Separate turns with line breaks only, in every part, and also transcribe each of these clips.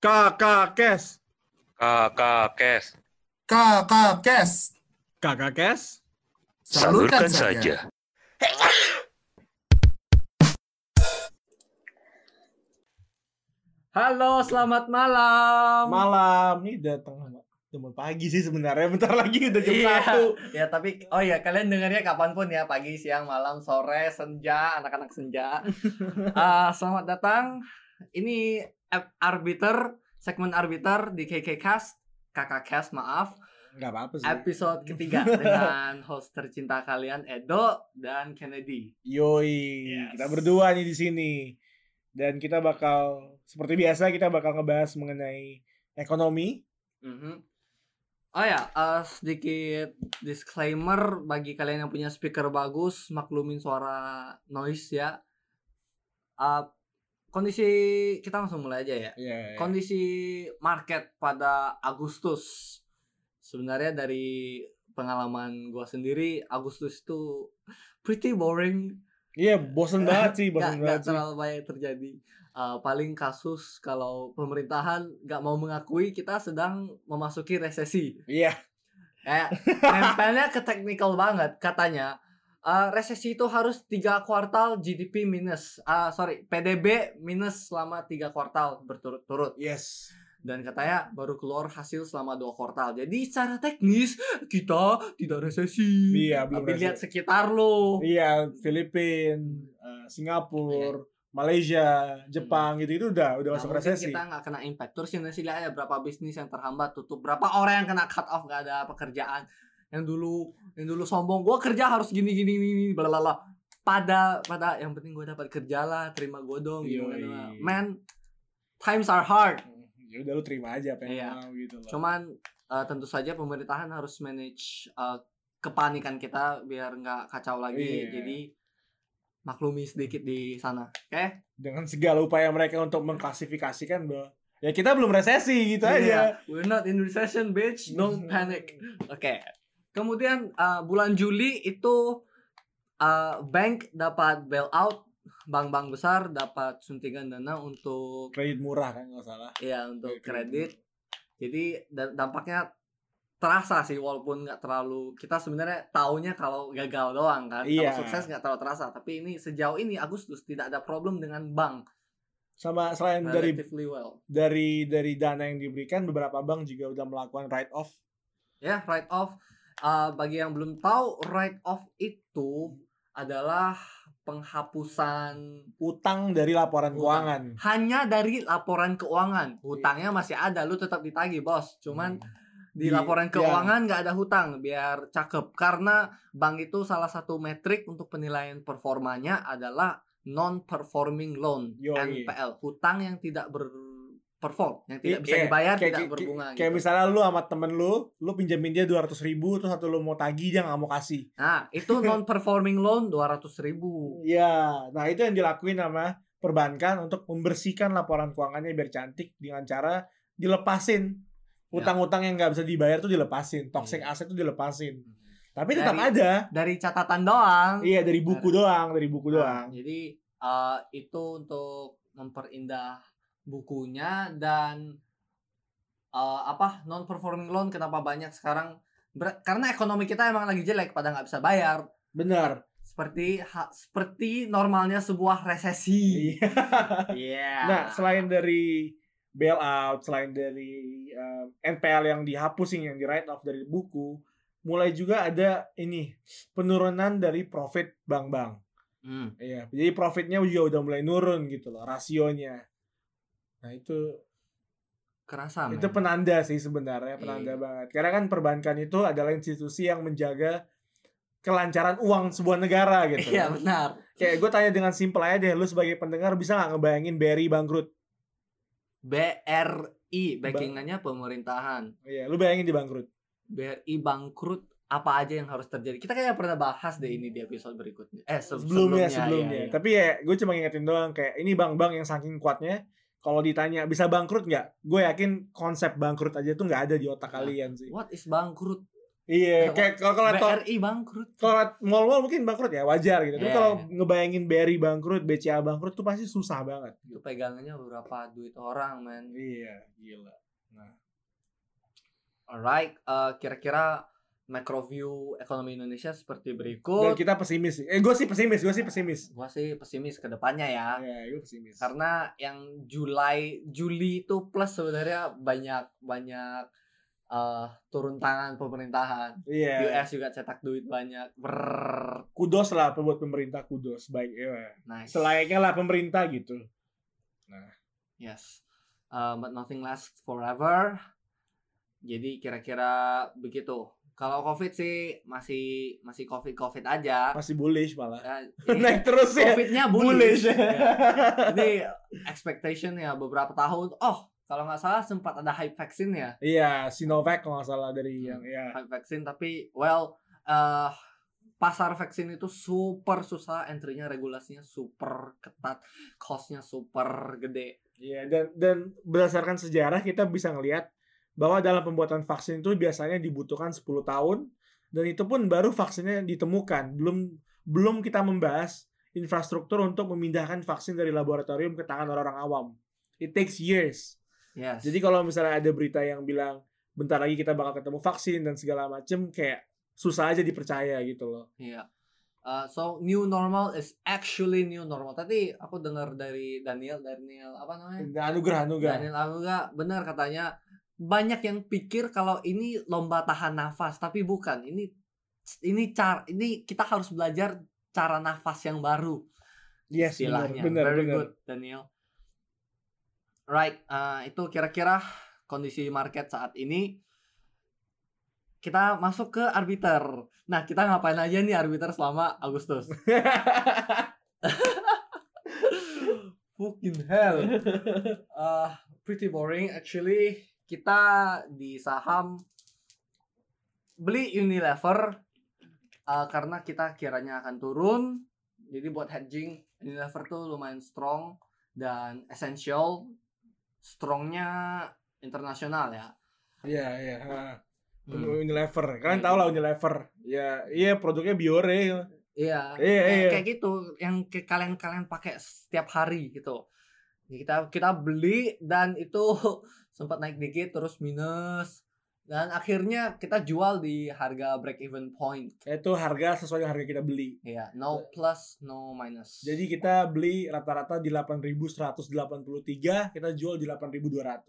Kakak Kes.
Kakak Kes.
Kakak Kes.
Kakak Kes.
Salurkan, saja.
Halo, selamat malam.
malam nih datang jam pagi sih sebenarnya bentar lagi udah jam
Iya.
satu
Ya tapi oh ya kalian dengarnya kapanpun ya pagi, siang, malam, sore, senja, anak-anak senja. Ah, selamat datang. Ini ep- arbiter segmen arbiter di KK Cast, Kakak Cast maaf,
nggak apa-apa sih
episode ketiga dengan host tercinta kalian Edo dan Kennedy.
yoi
Yes.
kita berdua nih di sini dan kita bakal seperti biasa kita bakal ngebahas mengenai ekonomi
Mhm. Oh ya, eh, sedikit disclaimer bagi kalian yang punya speaker bagus, maklumin suara noise ya. Eh, kondisi kita langsung mulai aja ya.
ya
Kondisi market pada Agustus. Sebenarnya dari pengalaman gua sendiri, Agustus itu pretty boring
iya bosen banget sih bosen
nggak
banget
nggak terlalu banyak terjadi Uh, paling kasus kalau pemerintahan nggak mau mengakui kita sedang memasuki resesi
sih iya
kayak nempelnya ke teknikal banget katanya uh, resesi itu harus tiga kuartal GDP minus ah sorry PDB minus selama tiga kuartal berturut-turut
yes
dan katanya baru keluar hasil selama dua kuartal jadi secara teknis kita tidak resesi
iya belum
tapi
berhasil.
lihat sekitar lo
iya Filipina eh, Singapura Malaysia Jepang gitu itu udah udah
Iya. Nah,
masuk
mungkin
resesi
kita nggak kena impact terus yang hasilnya ya berapa bisnis yang terhambat tutup berapa orang yang kena cut off nggak ada pekerjaan yang dulu yang dulu sombong gue kerja harus gini gini gini gini bla bla bla. pada pada yang penting gue dapat kerja lah terima gue dong gitu, gimana
Yoi.
lah. man times are hard
ya udah lu terima aja apa yang
Iya.
mau gitu loh
cuman eh, tentu saja pemerintahan harus manage eh, kepanikan kita biar nggak kacau lagi
Iya.
jadi maklumi sedikit di sana oke
dengan segala upaya mereka untuk mengklasifikasikan bahwa ya kita belum resesi gitu aja.
Iya, We're not in recession, bitch. Don't panic. Oke. Kemudian uh, bulan Juli itu uh, bank dapat bailout, bank-bank besar dapat suntikan dana untuk
Kredit murah kan nggak salah.
ya untuk
Kredit
kredit. Jadi da- dampaknya terasa sih walaupun nggak terlalu kita sebenarnya taunya kalau gagal doang kan
Iya.
kalau sukses nggak terlalu terasa tapi ini sejauh ini Agustus tidak ada problem dengan bank
Sama selain dari
relatively well
dari dari dana yang diberikan beberapa bank juga udah melakukan write off.
ya write off Uh, bagi yang belum tahu write off itu adalah penghapusan
utang dari laporan
Utang.
keuangan.
hanya dari laporan keuangan
Iya.
hutangnya masih ada lu tetap ditagih
Hmm.
bos cuman di
Di-
laporan
ya.
keuangan nggak ada hutang biar cakep karena bank itu salah satu metrik untuk penilaian performanya adalah non performing loan
Yoi.
NPL hutang yang tidak berperform yang tidak
I-
bisa
iya,
dibayar
kayak-
kan tidak
kayak-
berbunga
Kayak
gitu.
misalnya lu sama temen lu, lu pinjemin dia 200 ribu terus satu lu mau tagih dia nggak mau kasih.
nah itu non performing loan 200.000 ribu
Ya, nah itu yang dilakuin sama perbankan untuk membersihkan laporan keuangannya biar cantik dengan cara dilepasin utang-utang yang nggak bisa dibayar tuh dilepasin, toxic
Iya.
aset tuh dilepasin. Tapi tetap
Dari-
ada.
dari catatan doang.
Iya dari buku doang, dari buku
Nah,
doang.
jadi eh, itu untuk memperindah bukunya dan eh, apa non performing loan kenapa banyak sekarang Ber- karena ekonomi kita emang lagi jelek pada nggak bisa bayar
Bener.
seperti ha- seperti normalnya sebuah resesi.
Iya.
Iya.
Nah selain dari bailout, selain dari um, NPL yang dihapusin, yang di write off dari buku, mulai juga ada ini penurunan dari profit bank-bank.
Hmm.
Iya, jadi profitnya juga udah mulai nurun gitu loh rasionya. Nah itu
kerasa.
itu
men.
penanda sih sebenarnya penanda
ya. Iya.
banget. Karena kan perbankan itu adalah institusi yang menjaga kelancaran uang sebuah negara gitu.
Iya
loh.
benar.
Kayak gue tanya dengan simpel aja deh, lu sebagai pendengar bisa nggak ngebayangin BRI bangkrut?
BRI backingannya pemerintahan.
Iya, lu bayangin di bangkrut.
BRI bangkrut apa aja yang harus terjadi kita kayaknya pernah bahas deh ini di episode berikutnya eh se-
Sebelumnya, sebelumnya.
iya, iya.
Tapi ya gue cuma ngingetin doang kayak ini bank-bank yang saking kuatnya. Kalau ditanya bisa bangkrut nggak? Gue yakin konsep bangkrut aja tuh nggak ada di otak
Nah.
kalian sih.
what is bangkrut
Iya, kayak kalau kalau laptop-
BRI bangkrut.
kalau liat mall-mall mungkin bangkrut ya wajar gitu. Tapi
Iya,
kalau
iya.
ngebayangin BRI bangkrut, BCA bangkrut tuh pasti susah banget.
Itu pegangannya berapa duit orang, men.
Iya, gila.
Alright, eh, kira-kira macro view ekonomi Indonesia seperti
Dan
berikut.
kita pesimis. Eh, gue sih pesimis, gue sih pesimis.
Gua sih pesimis ke depannya ya.
Iya, gue pesimis.
Karena yang Julai Juli itu plus sebenarnya banyak banyak eh, turun tangan pemerintahan.
Iya,
US juga cetak duit banyak. Brrrr,
kudos lah buat pemerintah kudos. Baik, iya.
nice.
Selayaknya lah pemerintah gitu.
Yes. Uh, but nothing lasts forever. Jadi kira-kira begitu. Kalau COVID sih masih masih COVID COVID aja.
Masih bullish malah.
Eh, ini
Naik terus ya.
COVID-nya
Bullish.
bullish. Ya. Ini expectation ya beberapa tahun. Oh, kalau nggak salah sempat ada hype vaksin ya.
Iya, Sinovac kalau nggak salah dari yang ya.
Hype vaksin tapi well eh pasar vaksin itu super susah, entry-nya regulasinya super ketat, cost-nya super gede.
Iya, dan dan berdasarkan sejarah kita bisa ngelihat bahwa dalam pembuatan vaksin itu biasanya dibutuhkan 10 tahun dan itu pun baru vaksinnya ditemukan. Belum belum kita membahas infrastruktur untuk memindahkan vaksin dari laboratorium ke tangan orang-orang awam. It takes years.
Yes.
Jadi kalau misalnya ada berita yang bilang bentar lagi kita bakal ketemu vaksin dan segala macem kayak susah aja dipercaya gitu loh.
Iya. Uh, so new normal is actually new normal. Tadi aku dengar dari Daniel, Daniel apa namanya?
Anugerah anugerah.
Daniel Anuga benar katanya banyak yang pikir kalau ini lomba tahan nafas, tapi bukan. Ini ini car ini kita harus belajar cara nafas yang baru
Yes, benar
istilahnya.
benar
Very
benar.
good Daniel. Right, uh, itu kira-kira kondisi market saat ini. Kita masuk ke arbiter. Nah, kita ngapain aja nih arbiter selama Agustus? Fucking hell. Uh, pretty boring actually. Kita di saham beli Unilever uh, karena kita kiranya akan turun. Jadi buat hedging Unilever tuh lumayan strong dan essential. Strongnya internasional ya.
Iya, iya. ha.
Hmm.
Unilever. Kalian tahu lah Unilever. Ya, iya produknya Biore.
Iya.
Iya,
Kayak-
iya.
Kayak gitu yang ke- kalian-kalian pakai setiap hari gitu. Jadi Kita kita beli dan itu sempat naik dikit terus minus dan akhirnya kita jual di harga break even point.
Itu harga sesuai dengan harga kita beli.
Iya, no plus, no minus.
Jadi kita beli rata-rata di 8.183, kita jual di 8.200.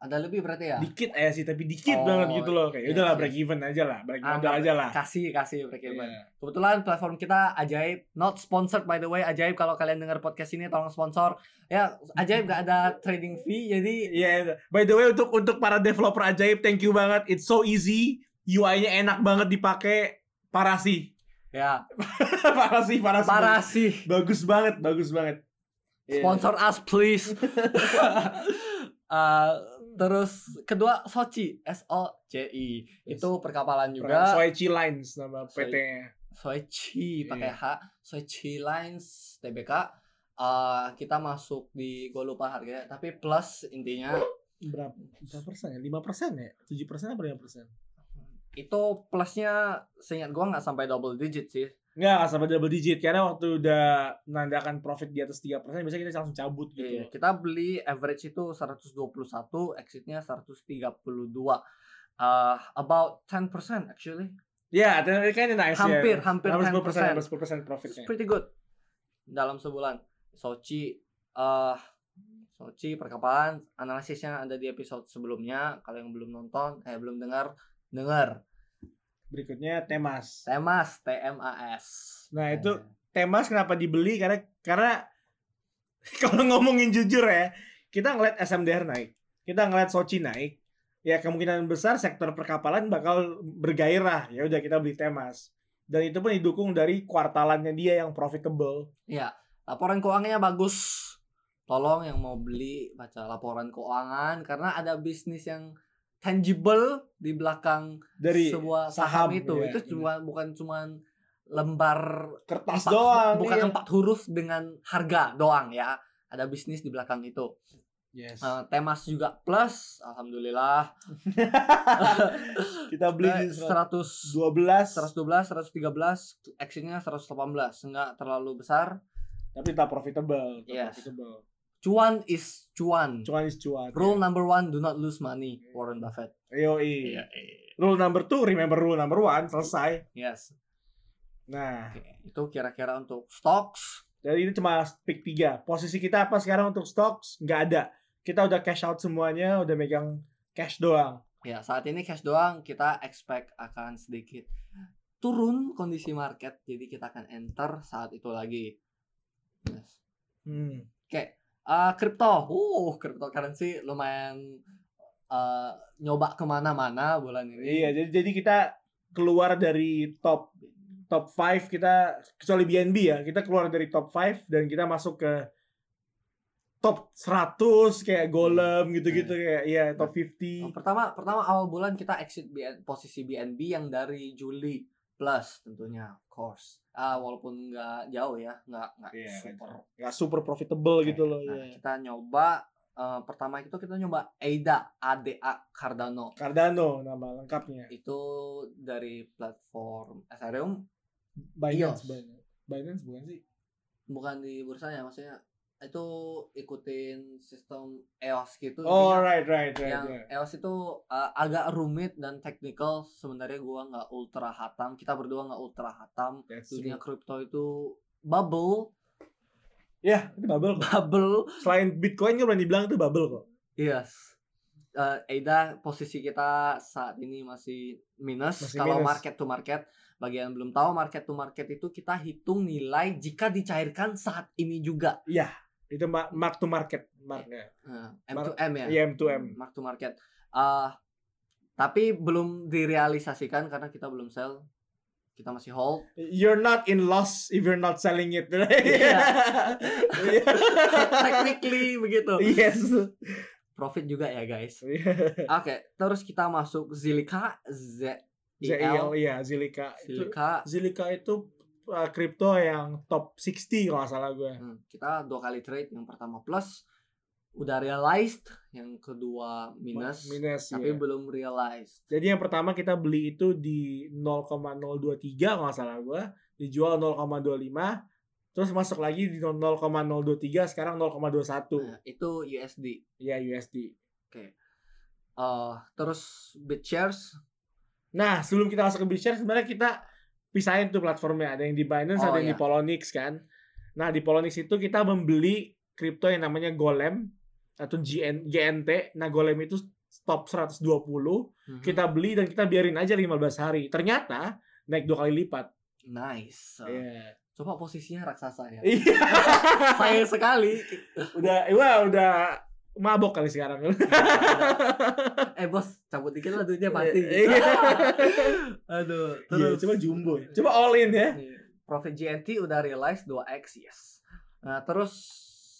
ada lebih berarti ya?
Dikit aja sih, tapi dikit
Oh,
banget gitu loh. Kayak
iya
udahlah
sih.
break even aja lah, break
Ah,
even
nggak-
aja lah.
Kasih kasih break even.
Iya.
Kebetulan platform kita ajaib, not sponsored by the way, ajaib kalau kalian dengar podcast ini tolong sponsor. Ya, ajaib gak ada trading fee, jadi
Iya, iya. by the way untuk untuk para developer ajaib, thank you banget. It's so easy. UI-nya enak banget dipakai. Parasi.
ya
parasi, parasi.
parah sih.
Bagus banget, bagus banget. Iya.
Sponsor us please. Eh, terus kedua Sochi, S O C I. Itu perkapalan
Perang
juga.
Soichi Lines nama
Soi-
PT-nya.
Soichi pakai
Iya.
H, Soichi Lines TBK. Eh, kita masuk di gue lupa harganya, tapi plus intinya
berapa berapa persen ya? 5 persen ya? 7 persen apa 5 persen?
itu plusnya seingat gua nggak sampai double digit sih.
Enggak, nggak sampai double digit. Karena waktu udah menandakan profit di atas 3 persen, biasanya kita langsung cabut
Iya,
gitu.
kita beli average itu 121, exitnya 132. Uh, about 10% actually.
Iya, yeah, kan nice
Hampir,
ya.
hampir
10 persen,
10%.
hampir 10 persen
It's
profitnya.
pretty good. Dalam sebulan. Sochi eh Sochi perkapalan analisisnya ada di episode sebelumnya. Kalau yang belum nonton, eh belum dengar, dengar.
Berikutnya Temas.
Temas, TMAS.
Nah, itu Temas kenapa dibeli? Karena karena kalau ngomongin jujur ya, kita ngeliat SMDR naik, kita ngeliat Sochi naik, ya kemungkinan besar sektor perkapalan bakal bergairah. Ya udah kita beli Temas. Dan itu pun didukung dari kuartalannya dia yang profitable.
Iya, laporan keuangannya bagus. Tolong yang mau beli baca laporan keuangan karena ada bisnis yang tangible di belakang
dari
sebuah
saham,
saham, itu.
iya,
itu
benar.
cuma bukan cuman lembar
kertas
empat-
doang
bukan
iya.
empat huruf dengan harga doang ya. Ada bisnis di belakang itu.
Yes.
Eh, Temas juga plus, alhamdulillah.
Kita
Nah,
beli di 112.
100 112, 113, actionnya 118, nggak terlalu besar.
Tapi tak profitable. tetap
Yes.
profitable.
Cuan is cuan.
Cuan is cuan.
Rule number one, do not lose money. Warren Buffett.
Yoi. Rule number two, remember rule number one, selesai.
Yes.
Nah,
Oke, Itu kira-kira untuk stocks.
jadi ini cuma pick 3. Posisi kita apa sekarang untuk stocks? Nggak ada. Kita udah cash out semuanya, udah megang cash doang.
Ya, saat ini cash doang kita expect akan sedikit turun kondisi market. Jadi kita akan enter saat itu lagi. Yes.
Hmm.
Ah, kripto. Uh, cryptocurrency lumayan eh, nyoba kemana-mana bulan ini.
Iya, jadi jadi kita keluar dari top top 5 kita kecuali BNB ya, kita keluar dari top 5 dan kita masuk ke top 100 kayak Golem gitu-gitu kayak iya top 50.
Oh, pertama pertama awal bulan kita exit BN, posisi BNB yang dari Juli plus tentunya of course Ah, walaupun nggak jauh ya nggak nggak
Iya,
super
nggak super profitable gitu loh.
Nah,
iya.
kita nyoba eh, pertama itu kita nyoba ADA ADA Cardano
Cardano nama lengkapnya.
itu dari platform Ethereum
Binance,
EOS.
Binance. Binance bukan sih?
bukan di bursanya maksudnya itu ikutin sistem EOS gitu
Oh,
intinya.
right, right, right.
yang
yeah.
EOS itu uh, agak rumit dan technical sebenarnya gua nggak ultra hatam kita berdua nggak ultra hatam
That's
dunia
true.
kripto itu bubble
Ya, itu bubble kok.
bubble
Selain Bitcoin nggak berani bilang itu bubble kok.
yes Eh, Eda posisi kita saat ini masih minus
Masih
kalau
minus.
market to market bagian belum tahu market to market itu kita hitung nilai jika dicairkan saat ini juga
Itu ma- mark ya. to market, marknya.
Nah,
Mar-
M2M ya
Iya, M2M.
mark to market Ah, tapi belum direalisasikan karena kita belum sell kita masih hold
You're not in loss if you're not selling it.
Iya.
Iya.
technically begitu
yes.
profit juga ya
Iya.
guys oke terus kita masuk Zilliqa Z
ZIL ya, Zilliqa. Itu,
Zilliqa
Zilliqa itu uh, kripto yang top 60 kalau nggak salah gue.
Hmm, kita dua kali trade yang pertama plus udah realized yang kedua minus,
Minus.
tapi
iya.
belum realized
Jadi yang pertama kita beli itu di 0,023 kalau nggak salah gue, dijual 0,25, terus masuk lagi di 0,023 sekarang 0,21
Nah, itu USD
ya USD.
Eh, terus BitShares
Nah sebelum kita masuk ke Bitshare sebenarnya kita pisahin tuh platformnya ada yang di Binance
Oh,
ada yang di
iya.
Poloniex kan. Nah di Poloniex itu kita membeli kripto yang namanya Golem atau GN, GNT. Nah Golem itu top 120
Mhm.
kita beli dan kita biarin aja 15 hari. Ternyata naik dua kali lipat.
nice Eh,
Iya.
coba posisinya raksasa ya
Iya,
sayang sekali
udah, eh, wah udah mabok kali sekarang.
eh bos cabut dikit lah duitnya mati
Iya.
aduh
Iya,
terus
coba jumbo, coba all in ya.
Nih, profit GNT udah realize 2x yes nah terus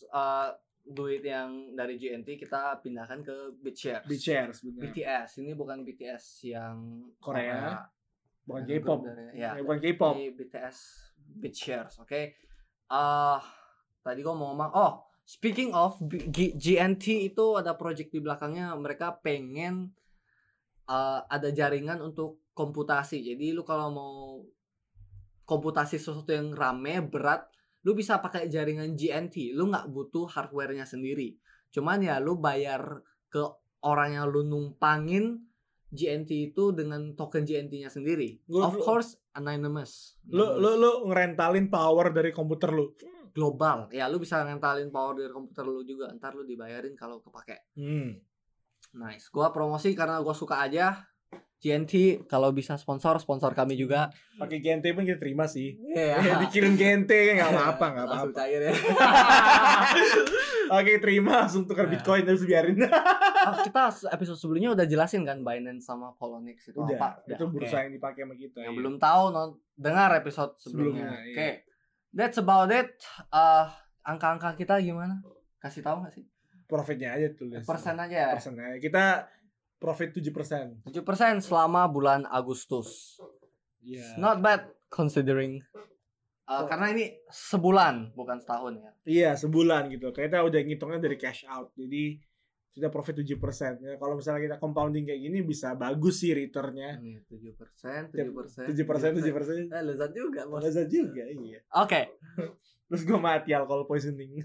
eh, duit yang dari GNT kita pindahkan ke BitShares
Di share sebenarnya.
BTS ini bukan BTS yang
Korea. Bukan
Yang
K-pop,
grup dari- ya.
Eh, bukan K-pop.
Ini BTS BitShares oke Ah, tadi gua mau ngomong oh speaking of B- G- GNT itu ada project di belakangnya mereka pengen eh, ada jaringan untuk komputasi jadi lu kalau mau komputasi sesuatu yang rame berat lu bisa pakai jaringan GNT lu nggak butuh hardwarenya sendiri cuman ya lu bayar ke orang yang lu numpangin GNT itu dengan token GNT-nya sendiri
Gua-
of course anonymous
Lu,
Anonymous.
lu, lu ngerentalin power dari komputer lu.
global ya lu bisa ngentalin power dari komputer lu juga ntar lu dibayarin kalau kepake
Hmm.
nice gua promosi karena gua suka aja GNT kalau bisa sponsor sponsor kami juga
Pakai GNT pun kita terima sih. Ya,
Iya
dikirim GNT kan nggak apa-apa, nggak
Langsung
apa-apa.
cair ya
Oke, terima langsung tukar
Nah.
Bitcoin terus biarin.
Oh, kita episode sebelumnya udah jelasin kan Binance sama Poloniex itu
Udah,
apa Udah,
itu
oke.
bursa yang dipakai sama kita.
yang
iya.
belum tahu non dengar episode sebelumnya.
Sebelumnya,
Oke.
iya.
That's about it. Eh, angka-angka kita gimana? Kasih tahu nggak sih?
profitnya aja tulis.
Persen aja. ya.
Persen aja. Kita profit 7%. persen.
Iya.
Iya.
7% selama bulan Agustus. It's Not bad considering Eh, karena ini sebulan bukan setahun ya.
Iya sebulan gitu. Kita udah ngitungnya dari cash out. Jadi kita profit 7%. Ya, kalau misalnya kita compounding kayak gini bisa bagus sih returnnya.
Tujuh persen,
Tiap-
Eh. tujuh persen,
7% 7%.
Eh, lezat juga bos. Oke.
Lezat juga iya. Terus gue mati alkohol poisoning.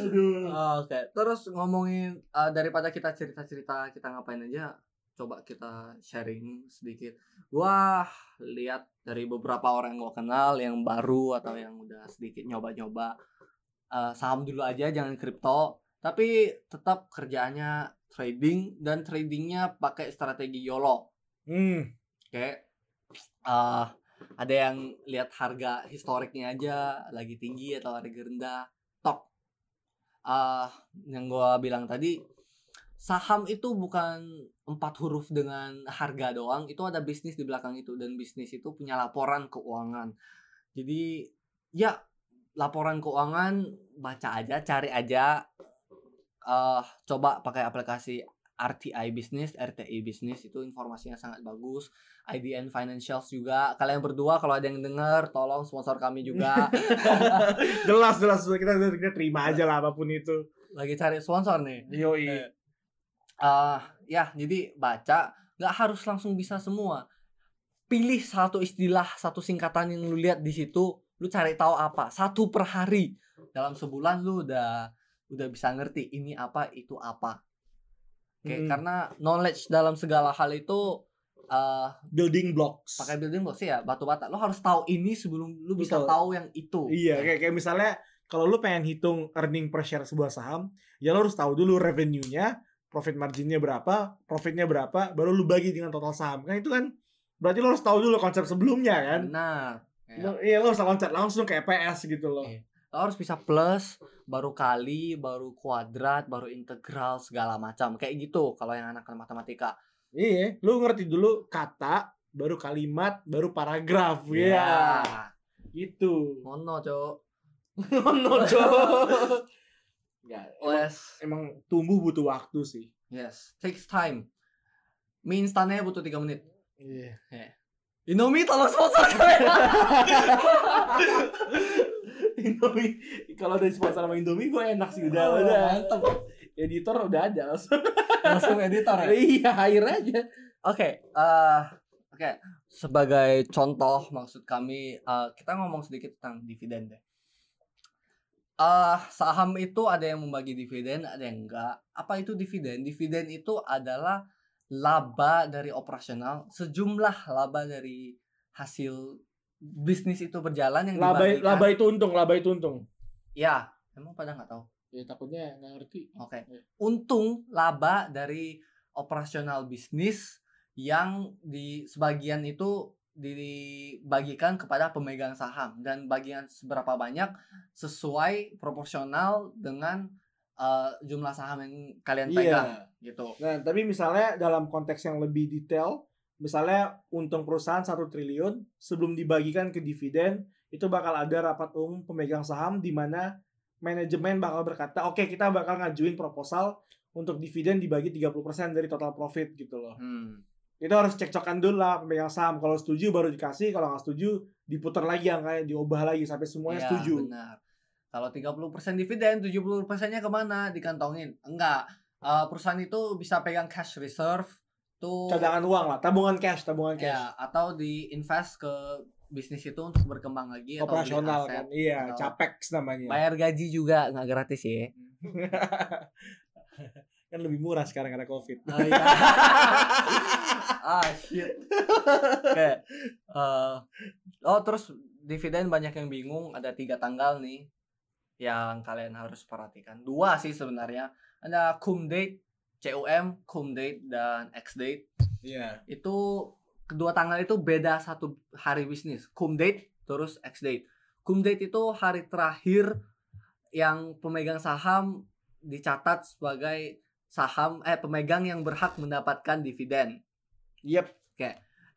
Aduh.
Eh, Oke. Terus ngomongin eh, daripada kita cerita-cerita kita ngapain aja, coba kita sharing sedikit. Gua lihat dari beberapa orang yang gua kenal yang baru atau yang udah sedikit nyoba-nyoba eh, saham dulu aja, jangan kripto. Tapi tetap kerjaannya trading dan tradingnya pakai strategi YOLO.
Hmm.
kayak eh ada yang lihat harga historiknya aja lagi tinggi atau harga rendah top eh yang gua bilang tadi saham itu bukan empat huruf dengan harga doang itu ada bisnis di belakang itu dan bisnis itu punya laporan keuangan jadi ya laporan keuangan baca aja cari aja eh coba pakai aplikasi RTI Business, RTI Business itu informasinya sangat bagus. IDN Financials juga. Kalian berdua kalau ada yang denger tolong sponsor kami juga.
Jelas jelas kita kita terima aja lah apapun itu.
Lagi cari sponsor nih.
Yoi.
Ah, ya, jadi baca nggak harus langsung bisa semua. Pilih satu istilah, satu singkatan yang lu lihat di situ, lu cari tahu apa. Satu per hari dalam sebulan lu udah udah bisa ngerti ini apa itu apa. Oke,
Mm.
karena knowledge dalam segala hal itu eh
Building blocks.
pakai building blocks ya, batu bata. Lu harus tahu ini sebelum lu bisa
Betul.
tahu yang itu. Ya
Iya, kayak kayak misalnya kalau lu pengen hitung earning per share sebuah saham, ya lu harus tahu dulu revenue-nya, profit marginnya berapa, profitnya berapa, baru lu bagi dengan total saham. Kan itu kan berarti lu harus tahu dulu konsep sebelumnya kan.
Benar.
Lu- Iya, lu harus loncat langsung ke EPS gitu loh.
Iya. Lo harus bisa plus, baru kali, baru kuadrat, baru integral segala macam. Kayak gitu kalau yang anak matematika.
Iya, lu ngerti dulu kata, baru kalimat, baru paragraf. Iya, gitu.
Mono, Cok.
Mono, Cok. Ya, emang,
Yes.
emang tumbuh butuh waktu sih.
Yes, takes time. Mie instannya butuh 3 menit.
Iya.
Indomie tolong sponsor saya.
Indomie, kalau dari sponsor sama Indomie gue enak sih udah
Oh,
udah.
mantep.
Editor udah ada langsung.
Langsung editor ya.
iya, hire aja.
Oke, eh, oke. Sebagai contoh, maksud kami eh, kita ngomong sedikit tentang dividen deh. Eh, saham itu ada yang membagi dividen, ada yang enggak. Apa itu dividen? Dividen itu adalah laba dari operasional, sejumlah laba dari hasil bisnis itu berjalan yang
Laba
dibagikan.
laba itu untung, laba itu untung.
Ya, emang pada nggak tahu.
Ya takutnya nggak ngerti.
Oke. Gitu. Untung laba dari operasional bisnis yang di sebagian itu dibagikan kepada pemegang saham dan bagian seberapa banyak sesuai proporsional dengan eh, jumlah saham yang kalian pegang
Iya.
gitu.
Nah, tapi misalnya dalam konteks yang lebih detail, misalnya untung perusahaan satu triliun sebelum dibagikan ke dividen, itu bakal ada rapat umum pemegang saham di mana manajemen bakal berkata, "Oke, kita bakal ngajuin proposal untuk dividen dibagi 30% dari total profit gitu loh."
Hmm.
itu harus cekcokan dulu lah pemegang saham kalau setuju baru dikasih kalau nggak setuju diputar lagi angkanya diubah lagi sampai semuanya
Iya,
setuju
Benar. Kalau 30% dividen, 70%-nya kemana? Dikantongin. Enggak. Eh, perusahaan itu bisa pegang cash reserve tuh
cadangan uang lah tabungan cash tabungan cash
Ya, atau di invest ke bisnis itu untuk berkembang lagi atau beli
operasional
aset.
kan iya
atau-
capex namanya
Bayar gaji juga nggak gratis ya.
kan lebih murah sekarang karena covid
Oh, iya. ah shit. Oke. Eh, oh terus dividen banyak yang bingung ada tiga tanggal nih yang kalian harus perhatikan. Dua sih sebenarnya. Ada cum date, CUM, cum date dan ex date.
iya
itu kedua tanggal itu beda satu hari bisnis cum date terus ex date cum date itu hari terakhir yang pemegang saham dicatat sebagai saham eh pemegang yang berhak mendapatkan dividen
yep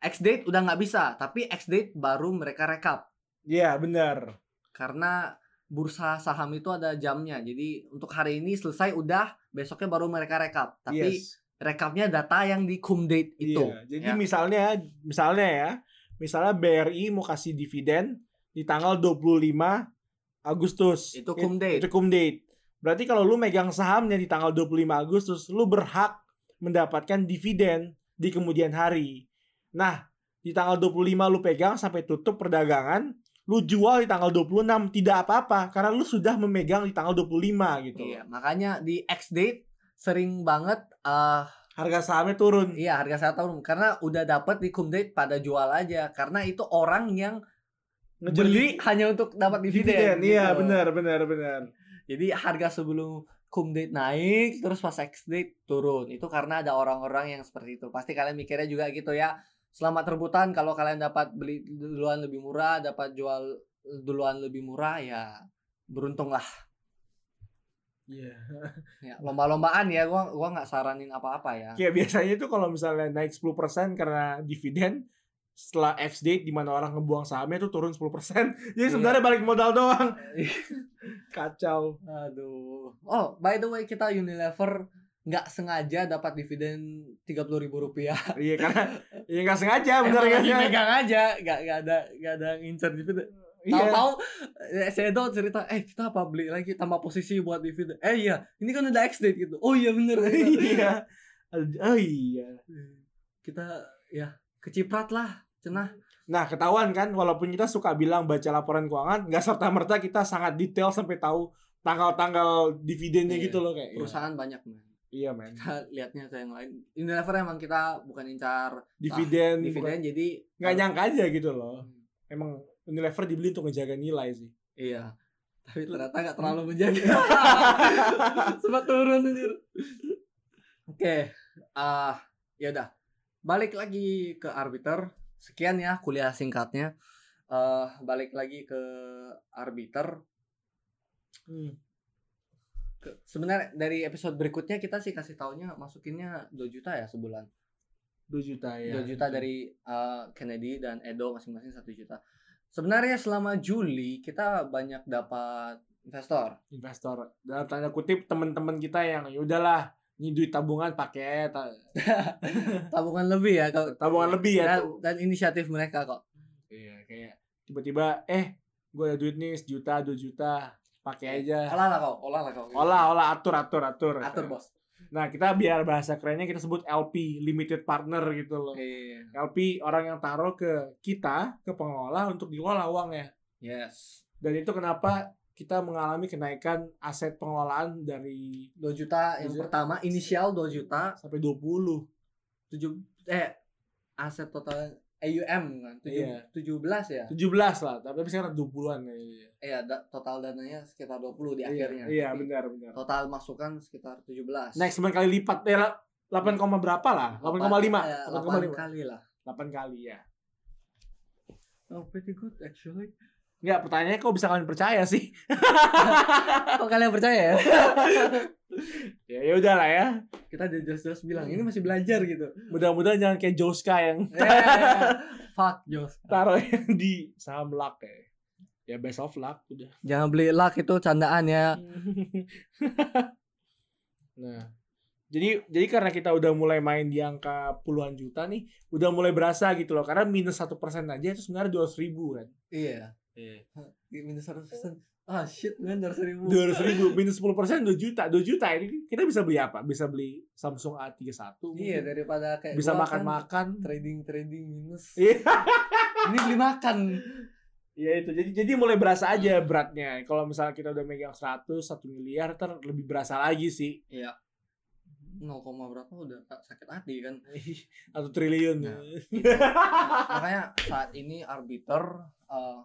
ex date udah nggak bisa tapi ex date baru mereka rekap
iya benar
karena bursa saham itu ada jamnya jadi untuk hari ini selesai udah besoknya baru mereka rekap tapi
yes
rekapnya data yang di cum date itu
Iya, jadi
ya.
misalnya misalnya ya misalnya BRI mau kasih dividen di tanggal 25 Agustus.
Itu cum date.
Itu cum date. Berarti kalau lu megang sahamnya di tanggal 25 Agustus, lu berhak mendapatkan dividen di kemudian hari. Nah, di tanggal 25 lu pegang sampai tutup perdagangan, lu jual di tanggal 26 tidak apa-apa karena lu sudah memegang di tanggal 25 gitu.
Iya, makanya di X date sering banget eh
Harga sahamnya turun.
Iya harga saat tahun karena udah dapat di cum date pada jual aja karena itu orang yang
Ngejar
beli hanya untuk dapat dividen.
dividen. Iya,
gitu.
benar benar benar.
Jadi harga sebelum cum date naik terus pas ex date turun itu karena ada orang-orang yang seperti itu. Pasti kalian mikirnya juga gitu ya. Selamat rebutan kalau kalian dapat beli duluan lebih murah, dapat jual duluan lebih murah ya beruntung lah.
Iya.
Ya, lomba-lombaan ya gua gua nggak saranin apa-apa ya.
Kayak biasanya itu kalau misalnya naik 10% karena dividen setelah X date di mana orang ngebuang sahamnya itu turun 10%. Jadi
Iya.
sebenarnya balik modal doang. Kacau.
Aduh. Oh, by the way kita Unilever nggak sengaja dapat dividen tiga puluh ribu rupiah.
Iya karena ya nggak sengaja benar
Emang
kan?
lagi megang aja, nggak nggak ada nggak ada ngincer dividen.
Iya.
Tahu-tahu eh, Sedo cerita, eh kita apa beli lagi tambah posisi buat dividen. Eh iya, ini kan udah ex date gitu. Oh iya bener.
Iya. Oh iya.
kita ya keciprat lah, cenah.
Nah, ketahuan kan walaupun kita suka bilang baca laporan keuangan, nggak serta-merta kita sangat detail sampai tahu tanggal-tanggal dividennya
Iya.
gitu loh kayak.
Perusahaan Nah, banyak man.
Iya, men.
Kita lihatnya ke yang lain. Unilever emang kita bukan incar
Dividen
dividen, jadi
nggak nyangka aja gitu loh. Emang Unilever dibeli untuk ngejaga nilai sih.
Iya. Tapi ternyata nggak terlalu menjaga. Sempat turun anjir. Oke. Ah, ya udah. Balik lagi ke arbiter. Sekian ya kuliah singkatnya. Eh, balik lagi ke arbiter.
Hmm.
Ke- Sebenarnya dari episode berikutnya kita sih kasih taunya masukinnya 2 juta ya sebulan.
2 juta ya.
2 juta dari eh, Kennedy dan Edo masing-masing 1 juta. Sebenarnya selama Juli kita banyak dapat investor.
investor. Dalam tanda kutip teman-teman kita yang ya udahlah, ini duit tabungan pakai ta-
tabungan lebih ya kalau
tabungan lebih ya.
dan, dan inisiatif mereka kok
Iya, kayak tiba-tiba eh gue ada duit nih sejuta, 2 juta, pakai aja.
olah lah kau olah lah kau
Olah, olah, atur, atur, atur.
atur bos
Nah, kita biar bahasa kerennya kita sebut LP, limited partner gitu loh.
iya
LP orang yang taruh ke kita, ke pengelola untuk diolah uangnya.
yes
Dan itu kenapa kita mengalami kenaikan aset pengelolaan dari
2 juta yang
Iya.
pertama inisial 2 juta
sampai 20.
7 eh aset total AUM kan
Iya.
7, 17 ya
17 lah, tapi tapi sekarang 20-an ya. Iya,
iya da- total dananya sekitar 20 di
Iya,
akhirnya Oh.
Iya,
Tapi
benar, benar.
total masukan sekitar 17
Next 9 kali lipat. Eh, la- 8, koma berapa lah?
Oh,
8,5.
8
8,5.
eh, kali lah
8 kali ya.
oh pretty good actually
Enggak, pertanyaannya kok bisa kalian percaya sih?
kok kalian percaya ya
ya ya udahlah ya.
kita udah jelas-jelas bilang ini masih belajar gitu
Mudah-mudahan jangan kayak Joska yang
Eh, fuck Jos
taruh yang di saham luck ya. Ya best of luck udah.
Jangan beli luck itu candaan ya.
Hmm. nah. Jadi jadi karena kita udah mulai main di angka puluhan juta nih, udah mulai berasa gitu loh. Karena minus satu persen aja itu sebenarnya dua ribu kan.
Iya. Minus seratus persen. Ah shit man dari seribu.
Dua ribu minus sepuluh persen dua juta, dua juta ini kita bisa beli apa? Bisa beli Samsung A 31
Iya daripada kayak
Bisa
gua kan
makan-makan.
trading trading minus.
Iya.
Ini beli makan.
Ya itu. Jadi jadi mulai berasa aja beratnya. Kalau misalnya kita udah megang 100, 1 miliar ter lebih berasa lagi sih.
Iya. 0, koma berapa udah sakit hati kan.
Atau triliun.
Nah. Makanya saat ini arbiter eh,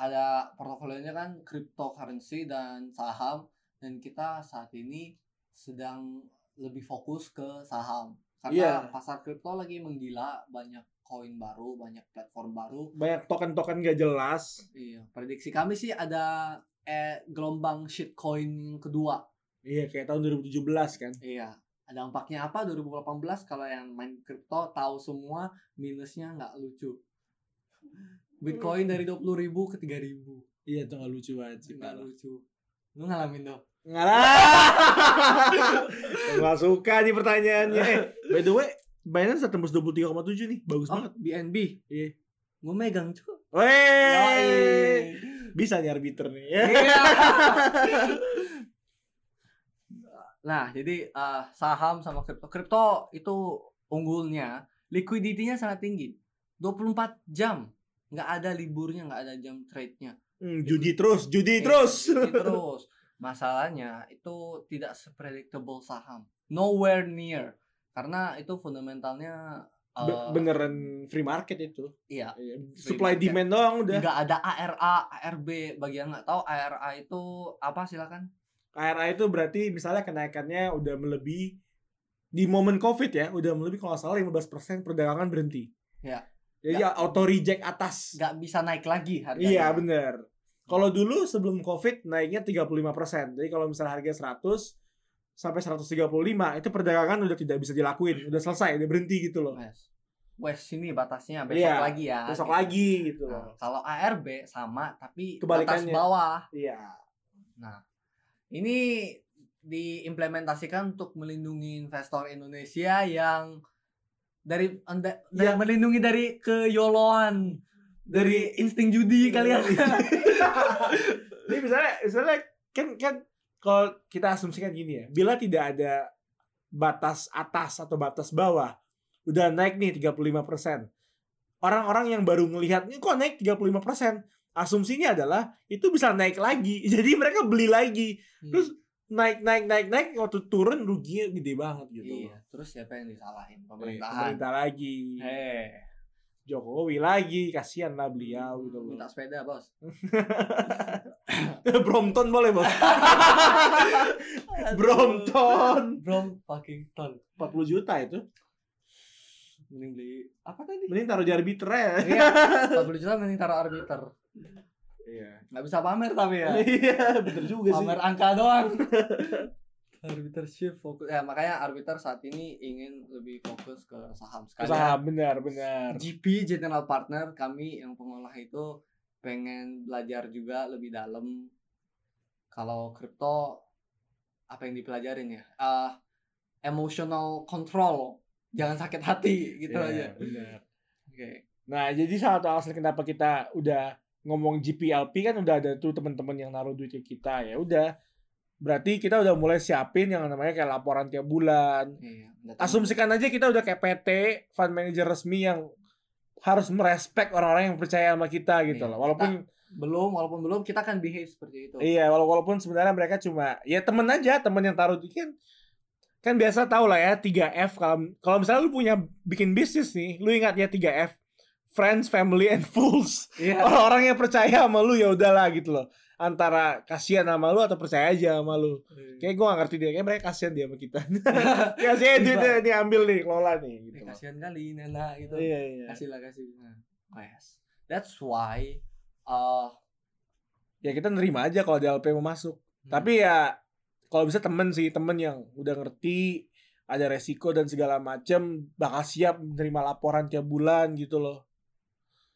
ada portofolionya kan cryptocurrency dan saham dan kita saat ini sedang lebih fokus ke saham
Iya.
karena pasar kripto lagi menggila banyak koin baru banyak platform baru
Banyak token-token gak jelas.
Iya, prediksi kami sih ada eh, gelombang shitcoin yang kedua.
Iya, kayak tahun 2017 kan.
Iya. Dampaknya apa 2018 kalau yang main kripto tahu semua minusnya nggak lucu. Bitcoin dari 20.000 ke 3.000.
Iya, itu gak lucu banget sih.
Nggak lucu. Lu ngalamin dong.
Nggak suka nih pertanyaannya. Eh, by the way, Binance udah tembus 23,7 nih. Bagus
Oh,
banget.
BNB.
Iya.
Gue megang cuy.
Wey. Bisa nih arbiter nih. Ya.
Iya. nah, jadi eh, saham sama kripto. Kripto itu unggulnya, likuiditinya sangat tinggi. 24 jam. Nggak ada liburnya, nggak ada jam trade-nya.
Hmm, judi terus, judi
Iya,
terus.
Jadi Terus. Masalahnya itu tidak sepredictable saham. Nowhere near. Karena itu fundamentalnya eh,
Be- beneran free market itu.
iya,
Iya, Supply
market.
demand doang udah.
nggak ada ARA, ARB. Bagi yang nggak tahu ARA itu apa silakan.
KRA itu berarti misalnya kenaikannya udah melebihi di momen covid ya udah melebihi kalau nggak salah 15% perdagangan berhenti
Ya.
jadi auto reject atas
Nggak bisa naik lagi harganya.
iya bener kalau dulu sebelum covid naiknya 35% jadi kalau misalnya harga 100 sampai 135 itu perdagangan udah tidak bisa dilakuin udah selesai udah berhenti gitu loh
Wes. Wes ini batasnya besok
Iya,
lagi ya.
besok
Gitu.
lagi gitu loh
Nah, kalau ARB sama tapi batas
Kebalikannya.
bawah.
iya
Ini diimplementasikan untuk melindungi investor Indonesia yang dari anda- dari-
Yang-
melindungi dari keyoloan dari insting judi ya. Iya. kalian.
Iya, Jadi misalnya, misalnya kan kan kalau kita asumsikan gini ya, bila tidak ada batas atas atau batas bawah, udah naik nih 35%. Orang-orang yang baru ngelihat, ini kok naik 35%? Asumsinya adalah itu bisa naik lagi. Jadi mereka beli lagi. Terus naik naik naik naik waktu turun ruginya gede banget gitu.
Iya, terus siapa yang disalahin? Pemerintahan. Eh.
Pemerintah lagi,
Heh,
Jokowi lagi, kasihan lah beliau gitu loh.
minta sepeda, Bos.
Brompton boleh bos. Brompton.
Brom fucking ton.
40 juta itu.
Mending beli apa tadi?
Mending taruh di arbiter ya.
Iya, 40 juta mending taruh arbiter.
Iya.
Nggak bisa pamer tapi ya.
Iya, bener juga sih.
Pamer angka doang. arbiter shift fokus. Ya, makanya arbiter saat ini ingin lebih fokus ke saham
Usaha
sekalian.
benar benar.
GP General Partner kami yang pengolah itu pengen belajar juga lebih dalam kalau kripto apa yang dipelajarin ya? Ah, emotional control. Jangan sakit hati gitu
Iya,
aja.
benar.
Oke.
Nah, jadi salah satu alasan kenapa kita udah ngomong GPLP kan udah ada tuh teman-teman yang naruh duit ke kita ya udah. Berarti kita udah mulai siapin yang namanya kayak laporan tiap bulan.
Iya, datang-
Asumsikan aja kita udah kayak PT, fund manager resmi yang harus merespek orang-orang yang percaya sama kita gitu
Iya,
loh. Walaupun
belum walaupun belum kita akan behave seperti itu.
Iya, wala- walaupun sebenarnya mereka cuma ya temen aja, temen yang taruh duit kan kan biasa tau lah ya 3F kalau kalau misalnya lu punya bikin bisnis nih, lu ingatnya 3F. Friends, family and fools.
Iya.
Orang-orang yang percaya sama lu ya udahlah gitu loh. Antara kasihan sama lu atau percaya aja sama lu. Kayak gue gak ngerti dia, kayak mereka kasihan dia sama kita. kasihan duit dia diambil nih, kelola nih
Eh,
gitu. loh.
kasihan kali Nana gitu.
Iya, iya.
Kasih lah kasih. Nah, yes. That's why uh,
Ya kita nerima aja kalau DLP mau masuk.
hmm,
Tapi ya kalau bisa temen sih, temen yang udah ngerti ada resiko dan segala macem bakal siap menerima laporan tiap bulan gitu loh.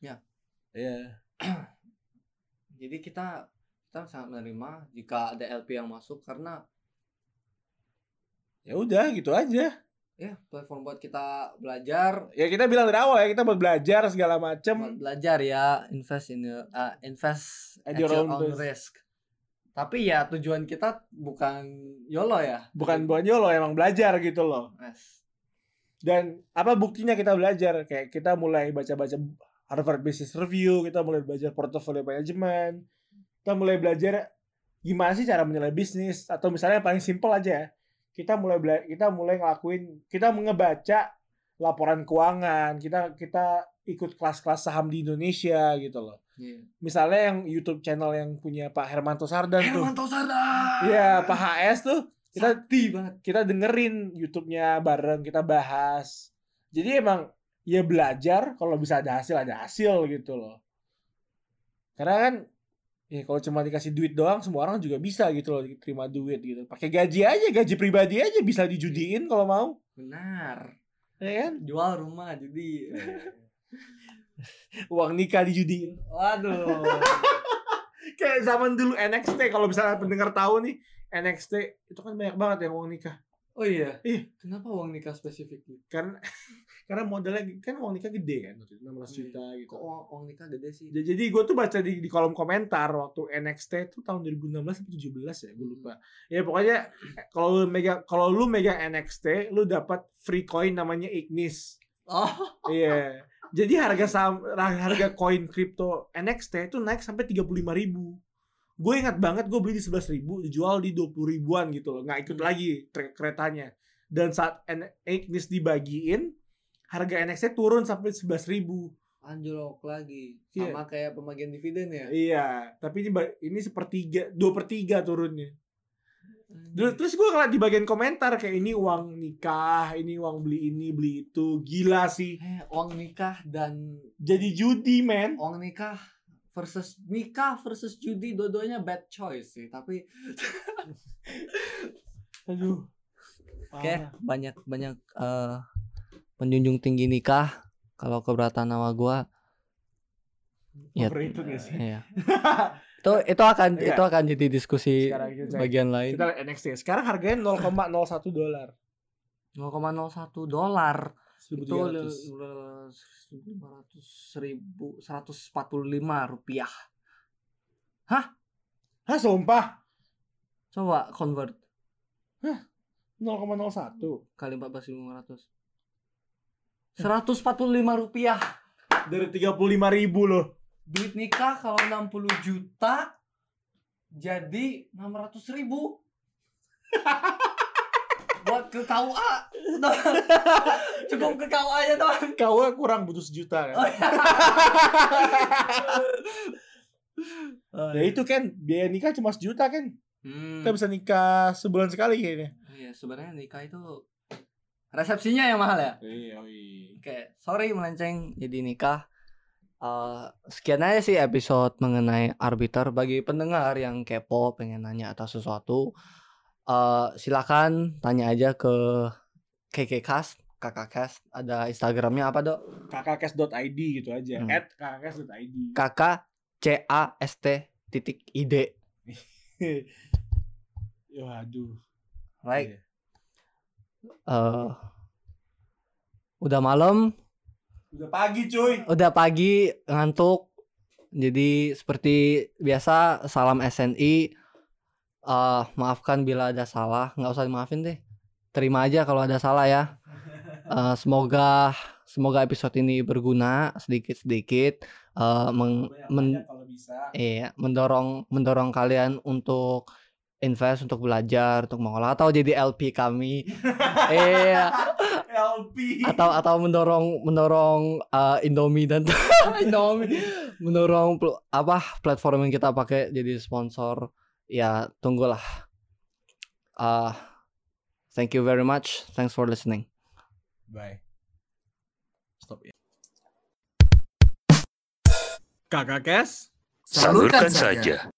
Ya.
Iya.
jadi kita kita sangat menerima jika ada LP yang masuk karena
Ya udah gitu aja.
ya platform buat kita belajar
Ya kita bilang dari awal ya kita buat belajar segala
buat
macem.
belajar ya invest in your- uh, invest
At your own risk.
Tapi ya tujuan kita bukan YOLO ya.
Bukan buat lo emang belajar gitu loh.
Yes.
Dan apa buktinya kita belajar? Kayak kita mulai baca-baca Harvard Business Review, kita mulai belajar portfolio management, kita mulai belajar gimana sih cara menilai bisnis atau misalnya yang paling simpel aja ya. Kita mulai bela- kita mulai ngelakuin, kita ngebaca laporan keuangan, kita kita ikut kelas-kelas saham di Indonesia gitu loh.
Iya.
Misalnya yang YouTube channel yang punya Pak Hermanto Sardan tuh.
Hermanto Sardan.
Iya, Pak HS tuh. Kita
Sakti banget.
kita dengerin YouTube-nya bareng kita bahas. Jadi emang ya belajar kalau bisa ada hasil ada hasil gitu loh. Karena kan ya kalau cuma dikasih duit doang semua orang juga bisa gitu loh terima duit gitu. Pakai gaji aja, gaji pribadi aja bisa dijudiin kalau mau.
Benar.
Ya kan?
Jual rumah jadi.
Iya. Uang nikah dijudiin.
Waduh.
Kayak zaman dulu NXT kalau misalnya pendengar tahu nih NXT itu kan banyak banget yang uang nikah.
Oh iya.
Ih.
Kenapa uang nikah gitu? spesifikly?
karena karena modalnya kan uang nikah gede kan waktu itu 16 juta gitu.
Kok uang, uang nikah gede sih?
Ja- Gitu. Jadi gue tuh baca di, di kolom komentar waktu NXT itu tahun 2016 atau 17 ya, gue lupa. Ya pokoknya eh, kalau lu megang kalau lu megang NXT, lu dapat free coin namanya Ignis.
Oh,
Iya. Jadi harga saham harga koin kripto NXT itu naik sampai 35.000 ribu. Gue ingat banget gue beli di 11.000 ribu, dijual di 20 ribuan gitu loh. Nggak ikut
Hmm.
lagi tre- keretanya. Dan saat N- Ignis dibagiin, harga NXT turun sampai 11.000 ribu.
anjlok lagi.
Iya.
Sama kayak pembagian dividen ya.
Iya, tapi ini ba- ini sepertiga, dua per tiga turunnya. Dulu- Terus gue ngeliat di bagian komentar kayak ini uang nikah, ini uang beli ini, beli itu. Gila sih.
Eh, uang nikah dan
Jadi judi, men.
uang nikah versus nikah versus judi dua-duanya bad choice sih tapi
Aduh.
Oke, banyak banyak eh, penjunjung tinggi nikah kalau keberatan sama gua ya
Overrated nggak sih?
iya. itu itu akan
Enggak.
itu akan jadi diskusi
Sekarang kita cek.
bagian lain.
Kita lihat NXT. Sekarang harganya 0,01 dolar.
0,01 dolar itu
1300.
1500 ribu 145 rupiah.
Hah, sumpah?
Coba convert
0,01.
kali 14.500.
Eh.
145 rupiah.
Dari 35 ribu loh.
Duit nikah kalau 60 juta jadi 600 ribu. Buat ke KUA. Cukup ke KUA aja doang.
Kau kurang butuh sejuta kan? Ya itu kan, biaya nikah cuma sejuta kan?
iya. Hmm.
Kita bisa nikah sebulan sekali kayaknya.
Iya, sebenarnya nikah itu resepsinya yang mahal ya.
Iya,
Oke, sorry melenceng jadi nikah. Eh, sekian aja sih episode mengenai arbiter bagi pendengar yang kepo pengen nanya atau sesuatu. eh, silakan tanya aja ke KKcast, KKcast, ada Instagramnya apa dok?
kakakes.id gitu aja
Hmm.
at kakakes.id
KK C A S T titik ID.
ya aduh Iya.
Right. Eh, udah malam,
udah pagi cuy
udah pagi ngantuk jadi seperti biasa salam SNI Eh, maafkan bila ada salah nggak usah dimaafin deh terima aja kalau ada salah ya Eh, semoga semoga episode ini berguna sedikit sedikit meng, Hmm, men-
kalau bisa
Iya, mendorong mendorong kalian untuk invest untuk belajar untuk mengolah atau jadi LP kami iya
Ya LP
atau atau mendorong mendorong uh, Indomie dan Indomie mendorong pl- apa platform yang kita pakai jadi sponsor ya tunggulah Uh, thank you very much thanks for listening
bye stop ya
Kakak Kes.
Salurkan saja.